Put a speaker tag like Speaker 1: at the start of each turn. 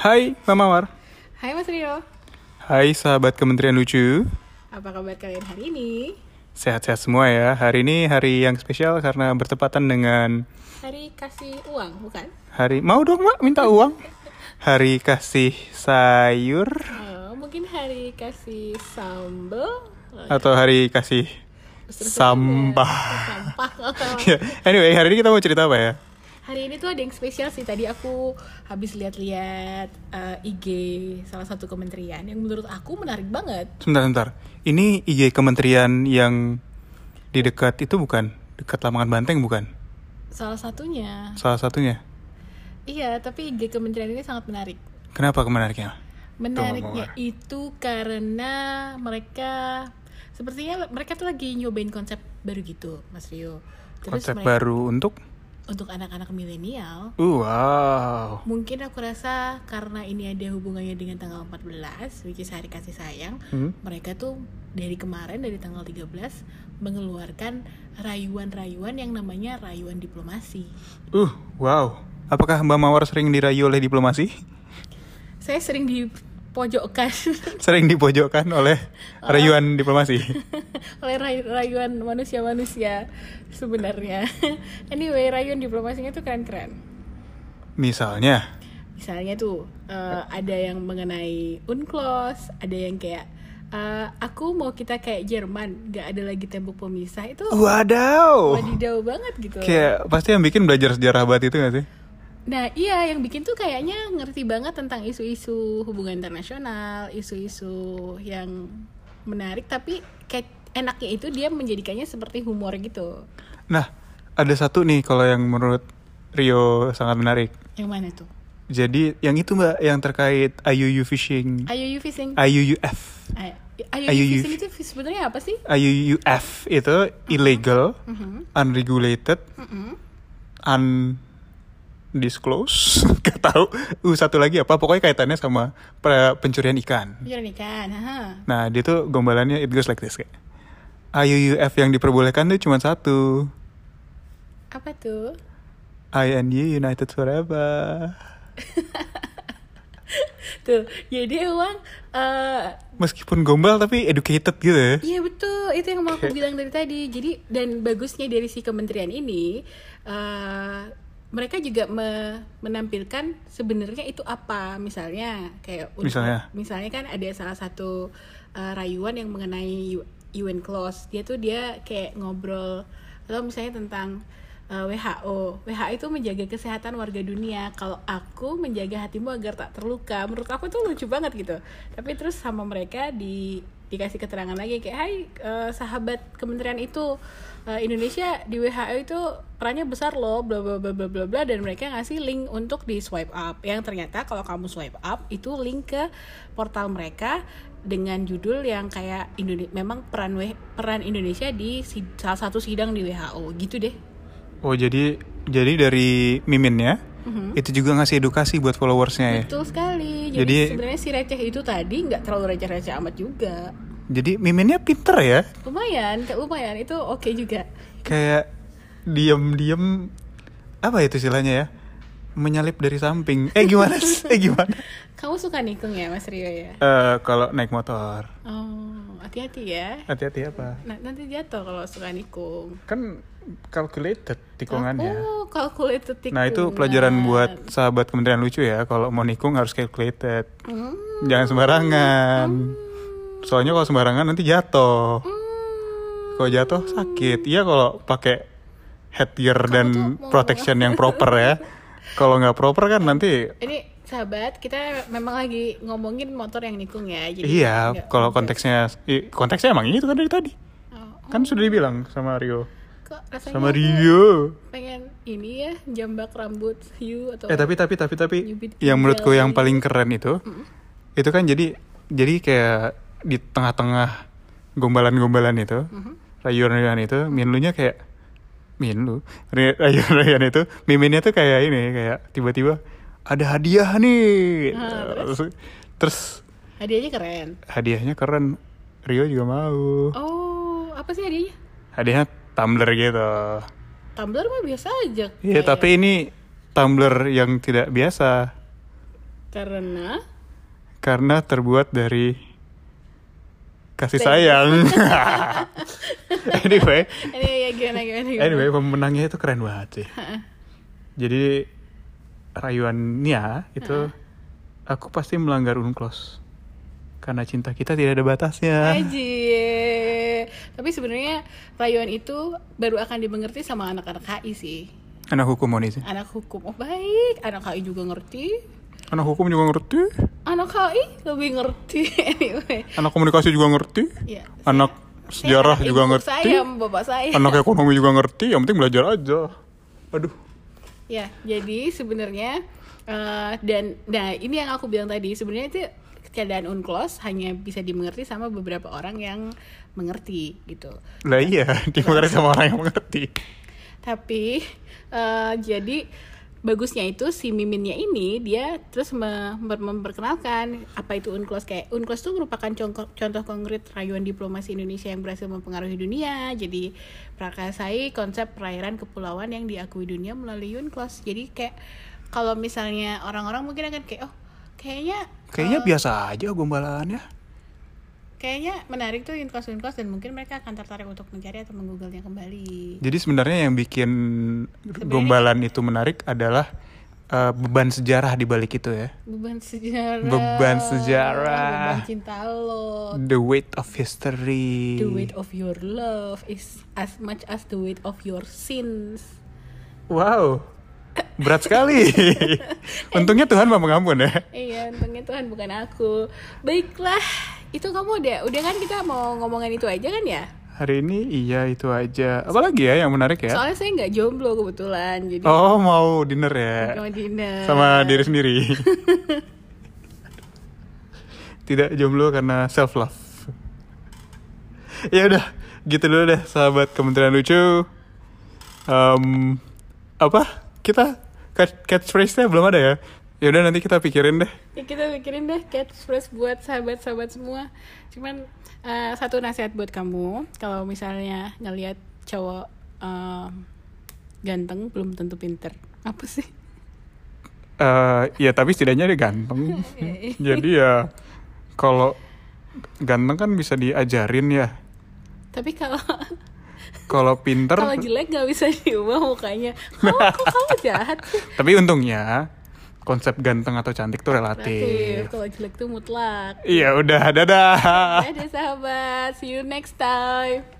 Speaker 1: Hai Mama War.
Speaker 2: Hai Mas Rio,
Speaker 1: Hai sahabat Kementerian Lucu.
Speaker 2: apa kabar kalian hari ini?
Speaker 1: Sehat-sehat semua ya. Hari ini hari yang spesial karena bertepatan dengan
Speaker 2: Hari kasih uang, bukan?
Speaker 1: hari mau dong Mak minta uang. Hari kasih sayur
Speaker 2: Eh, mungkin hari kasih sambal eh,
Speaker 1: atau hari kasih sambah.
Speaker 2: sampah.
Speaker 1: Ya, anyway, hari ini kita mau cerita apa ya?
Speaker 2: hari ini tuh ada yang spesial sih. Tadi aku habis lihat-lihat eh, IG salah satu kementerian yang menurut aku menarik banget.
Speaker 1: Sebentar-sebentar. Ini IG kementerian yang di dekat itu bukan dekat lapangan banteng bukan?
Speaker 2: Salah satunya,
Speaker 1: Salah satunya.
Speaker 2: iya. Tapi IG kementerian ini sangat menarik.
Speaker 1: Kenapa kemenariknya?
Speaker 2: Menariknya itu karena mereka sepertinya mereka tuh lagi nyobain konsep baru gitu, Mas Rio. Terus
Speaker 1: Konsep
Speaker 2: mereka-
Speaker 1: baru untuk
Speaker 2: untuk anak-anak milenial
Speaker 1: Uh, wow.
Speaker 2: mungkin aku rasa karena ini ada hubungannya dengan tanggal 14 which is hari kasih sayang
Speaker 1: Hmm.
Speaker 2: mereka tuh dari kemarin dari tanggal 13 mengeluarkan rayuan-rayuan yang namanya rayuan diplomasi
Speaker 1: Uh, wow. Apakah Mbak Mawar sering dirayu oleh diplomasi?
Speaker 2: saya sering dipojokkan
Speaker 1: Sering dipojokkan oleh rayuan diplomasi?
Speaker 2: oleh ray- rayuan manusia-manusia sebenarnya anyway rayuan diplomasinya tuh keren-keren
Speaker 1: Misalnya,
Speaker 2: misalnya tuh eh, ada yang mengenai unclos ada yang kayak eh, aku mau kita kayak Jerman nggak ada lagi tembok pemisah itu
Speaker 1: wadaw.
Speaker 2: wadidaw banget gitu
Speaker 1: Oh. Kayak pasti yang bikin belajar sejarah abad itu gak sih?
Speaker 2: nah iya yang bikin tuh kayaknya ngerti banget tentang isu-isu hubungan internasional isu-isu yang menarik tapi kayak enaknya itu dia menjadikannya seperti humor gitu
Speaker 1: Nah, ada satu nih kalau yang menurut Rio sangat menarik.
Speaker 2: yang mana tuh
Speaker 1: Jadi yang itu mbak yang terkait IUU fishing,
Speaker 2: IUU fishing
Speaker 1: IUUF,
Speaker 2: I-
Speaker 1: IUU.
Speaker 2: IUU fishing itu sebenarnya apa
Speaker 1: Hmm.
Speaker 2: sih
Speaker 1: IUUF itu illegal, unregulated, undisclosed, gak tahu. Uh, satu lagi apa? Pokoknya kaitannya sama pra- pencurian ikan.
Speaker 2: Penjualan ikan, haha.
Speaker 1: Nah, dia tuh gombalannya it goes like this kayak. IUUF yang diperbolehkan tuh cuma satu.
Speaker 2: apa tuh
Speaker 1: INU United Forever.
Speaker 2: Tuh, jadi emang eh
Speaker 1: Meskipun gombal tapi educated gitu ya.
Speaker 2: iya betul, itu yang mau aku bilang dari tadi. Jadi dan bagusnya dari si kementerian ini eh mereka juga me- menampilkan sebenarnya itu apa. Misalnya kayak untuk-
Speaker 1: Misalnya?
Speaker 2: misalnya kan ada salah satu eh, rayuan yang mengenai U- UN clause. Dia tuh dia kayak ngobrol atau misalnya tentang eh, WHO. WHO itu menjaga kesehatan warga dunia. Kalau aku menjaga hatimu agar tak terluka. Menurut aku tuh lucu banget gitu. Tapi terus sama mereka di dikasih keterangan lagi kayak hai eh, sahabat kementerian itu eh, Indonesia di WHO itu perannya besar loh bla bla bla bla bla bla dan mereka ngasih link untuk di swipe up yang ternyata kalau kamu swipe up itu link ke portal mereka dengan judul yang kayak Indonesia memang peran W- peran Indonesia di si- salah satu sidang di WHO gitu deh
Speaker 1: Oh, jadi jadi dari miminnya itu juga ngasih edukasi buat followersnya ya.
Speaker 2: betul sekali jadi,
Speaker 1: Jadi-
Speaker 2: sebenarnya si receh itu tadi nggak terlalu receh-receh amat juga
Speaker 1: Jadi miminnya pinter ya.
Speaker 2: lumayan lumayan itu oke juga
Speaker 1: Kayak diem-diem apa itu istilahnya ya? Menyalip dari samping. Eh gimana? sih? eh gimana?
Speaker 2: kamu suka nikung ya Mas Rio ya
Speaker 1: Eh kalau naik motor.
Speaker 2: Oh, hati-hati ya.
Speaker 1: Hati-hati apa?
Speaker 2: Nah, nanti jatuh kalau suka nikung.
Speaker 1: Kan calculated tikungannya.
Speaker 2: Oh, calculated tikung.
Speaker 1: ya? Nah itu pelajaran buat sahabat Kementerian Lucu ya. Kalau mau nikung harus calculated.
Speaker 2: Hmm,
Speaker 1: Jangan sembarangan. Soalnya kalau sembarangan nanti jatuh.
Speaker 2: hmm.
Speaker 1: Kalau jatuh sakit. Iya kalau pakai headgear dan
Speaker 2: mau-
Speaker 1: protection yang proper ya. Kalau nggak proper kan nanti
Speaker 2: Ini sahabat, kita memang lagi ngomongin motor yang nikung ya. Jadi
Speaker 1: iya.
Speaker 2: nggak-
Speaker 1: Kalau konteksnya i- konteksnya emang itu kan dari tadi.
Speaker 2: Oh,
Speaker 1: Kan sudah dibilang sama Rio.
Speaker 2: kok rasanya
Speaker 1: Sama
Speaker 2: aku
Speaker 1: Rio.
Speaker 2: pengen ini ya jambak rambut hiu atau
Speaker 1: Eh tapi tapi tapi tapi
Speaker 2: Nyubit
Speaker 1: yang menurutku
Speaker 2: jari.
Speaker 1: yang paling keren itu itu kan jadi jadi kayak di tengah-tengah gombalan-gombalan itu
Speaker 2: Mm-hmm.
Speaker 1: rayuan-rayuan itu minlunya kayak minlu Ri- rayuan-rayuan itu miminnya tuh kayak ini kayak tiba-tiba ada hadiah nih
Speaker 2: Ah,
Speaker 1: terus? terus
Speaker 2: hadiahnya keren.
Speaker 1: hadiahnya keren Rio juga mau
Speaker 2: Oh, apa sih hadiahnya?
Speaker 1: hadiahnya tumbler gitu
Speaker 2: Tumbler mah biasa aja.
Speaker 1: iya
Speaker 2: kayak.
Speaker 1: tapi ini tumbler yang tidak biasa
Speaker 2: Karena
Speaker 1: karena terbuat dari kasih sayang. anyway,
Speaker 2: ini ya gimana gimana. gimana.
Speaker 1: anyway pemenangnya itu keren banget sih. Jadi rayuannya itu aku pasti melanggar unclos karena cinta kita tidak ada batasnya.
Speaker 2: Aji. Tapi sebenarnya rayuan itu baru akan dimengerti sama anak-anak HI sih.
Speaker 1: Anak hukum mau nih sih.
Speaker 2: Anak hukum oh baik, anak HI juga ngerti.
Speaker 1: Anak hukum juga ngerti.
Speaker 2: Anak HI lebih ngerti anyway.
Speaker 1: Anak komunikasi juga ngerti.
Speaker 2: Ya, saya-
Speaker 1: Anak
Speaker 2: saya
Speaker 1: sejarah
Speaker 2: anak
Speaker 1: juga
Speaker 2: ibu
Speaker 1: ngerti.
Speaker 2: Saya, bapak saya.
Speaker 1: Anak ekonomi juga ngerti. Yang penting belajar aja. Aduh.
Speaker 2: Ya, jadi sebenarnya eh, dan nah ini yang aku bilang tadi sebenarnya itu keadaan unclos hanya bisa dimengerti sama beberapa orang yang mengerti gitu.
Speaker 1: Lah iya, dimengerti sama orang yang mengerti.
Speaker 2: Tapi eh, jadi bagusnya itu si miminnya ini dia terus me- me- memperkenalkan apa itu unclos kayak unclos itu merupakan contoh, contoh konkret rayuan diplomasi Indonesia yang berhasil mempengaruhi dunia jadi prakasai konsep perairan kepulauan yang diakui dunia melalui unclos jadi kayak kalau misalnya orang-orang mungkin akan kayak oh kayaknya
Speaker 1: Kayaknya biasa aja gombalannya.
Speaker 2: kayaknya menarik tuh unclos unclos dan mungkin mereka akan tertarik untuk mencari atau menggooglenya kembali
Speaker 1: Jadi sebenarnya yang bikin gombalan itu menarik adalah eh, beban sejarah di balik itu ya.
Speaker 2: beban sejarah
Speaker 1: Beban sejarah.
Speaker 2: beban cinta lo
Speaker 1: The weight of history.
Speaker 2: Oh. the weight of your love is as much as the weight of your sins
Speaker 1: Wow. Berat sekali. Untungnya Tuhan mau mengampun ya.
Speaker 2: iya untungnya Tuhan bukan aku baiklah itu kamu udah udah kan kita mau ngomongin itu aja kan ya
Speaker 1: Hari ini iya itu aja. Apalagi ya yang menarik ya?
Speaker 2: soalnya saya nggak jomblo kebetulan jadi
Speaker 1: Oh mau dinner ya
Speaker 2: mau dinner
Speaker 1: sama diri sendiri. Tidak jomblo karena self love. Ya udah gitu dulu deh sahabat Kementerian Lucu. Em, apa kita catch catchphrase-nya belum ada ya? Ya udah nanti kita pikirin deh.
Speaker 2: Ya, kita pikirin deh catchphrase buat sahabat-sahabat semua. Cuman eh, satu nasihat buat kamu, kalau misalnya ngelihat cowok eh, ganteng belum tentu pinter. Apa sih?
Speaker 1: Eh, ya tapi setidaknya dia ganteng. Jadi ya kalau ganteng kan bisa diajarin ya.
Speaker 2: Tapi kalau
Speaker 1: Kalau pinter
Speaker 2: kalau jelek nggak bisa diubah mukanya. Kamu kok kamu jahat ya? sih?
Speaker 1: Tapi untungnya konsep ganteng atau cantik tuh relatif.
Speaker 2: Relatif. Kalau jelek tuh mutlak.
Speaker 1: Iya udah, dadah.
Speaker 2: Dadah sahabat, see you next time.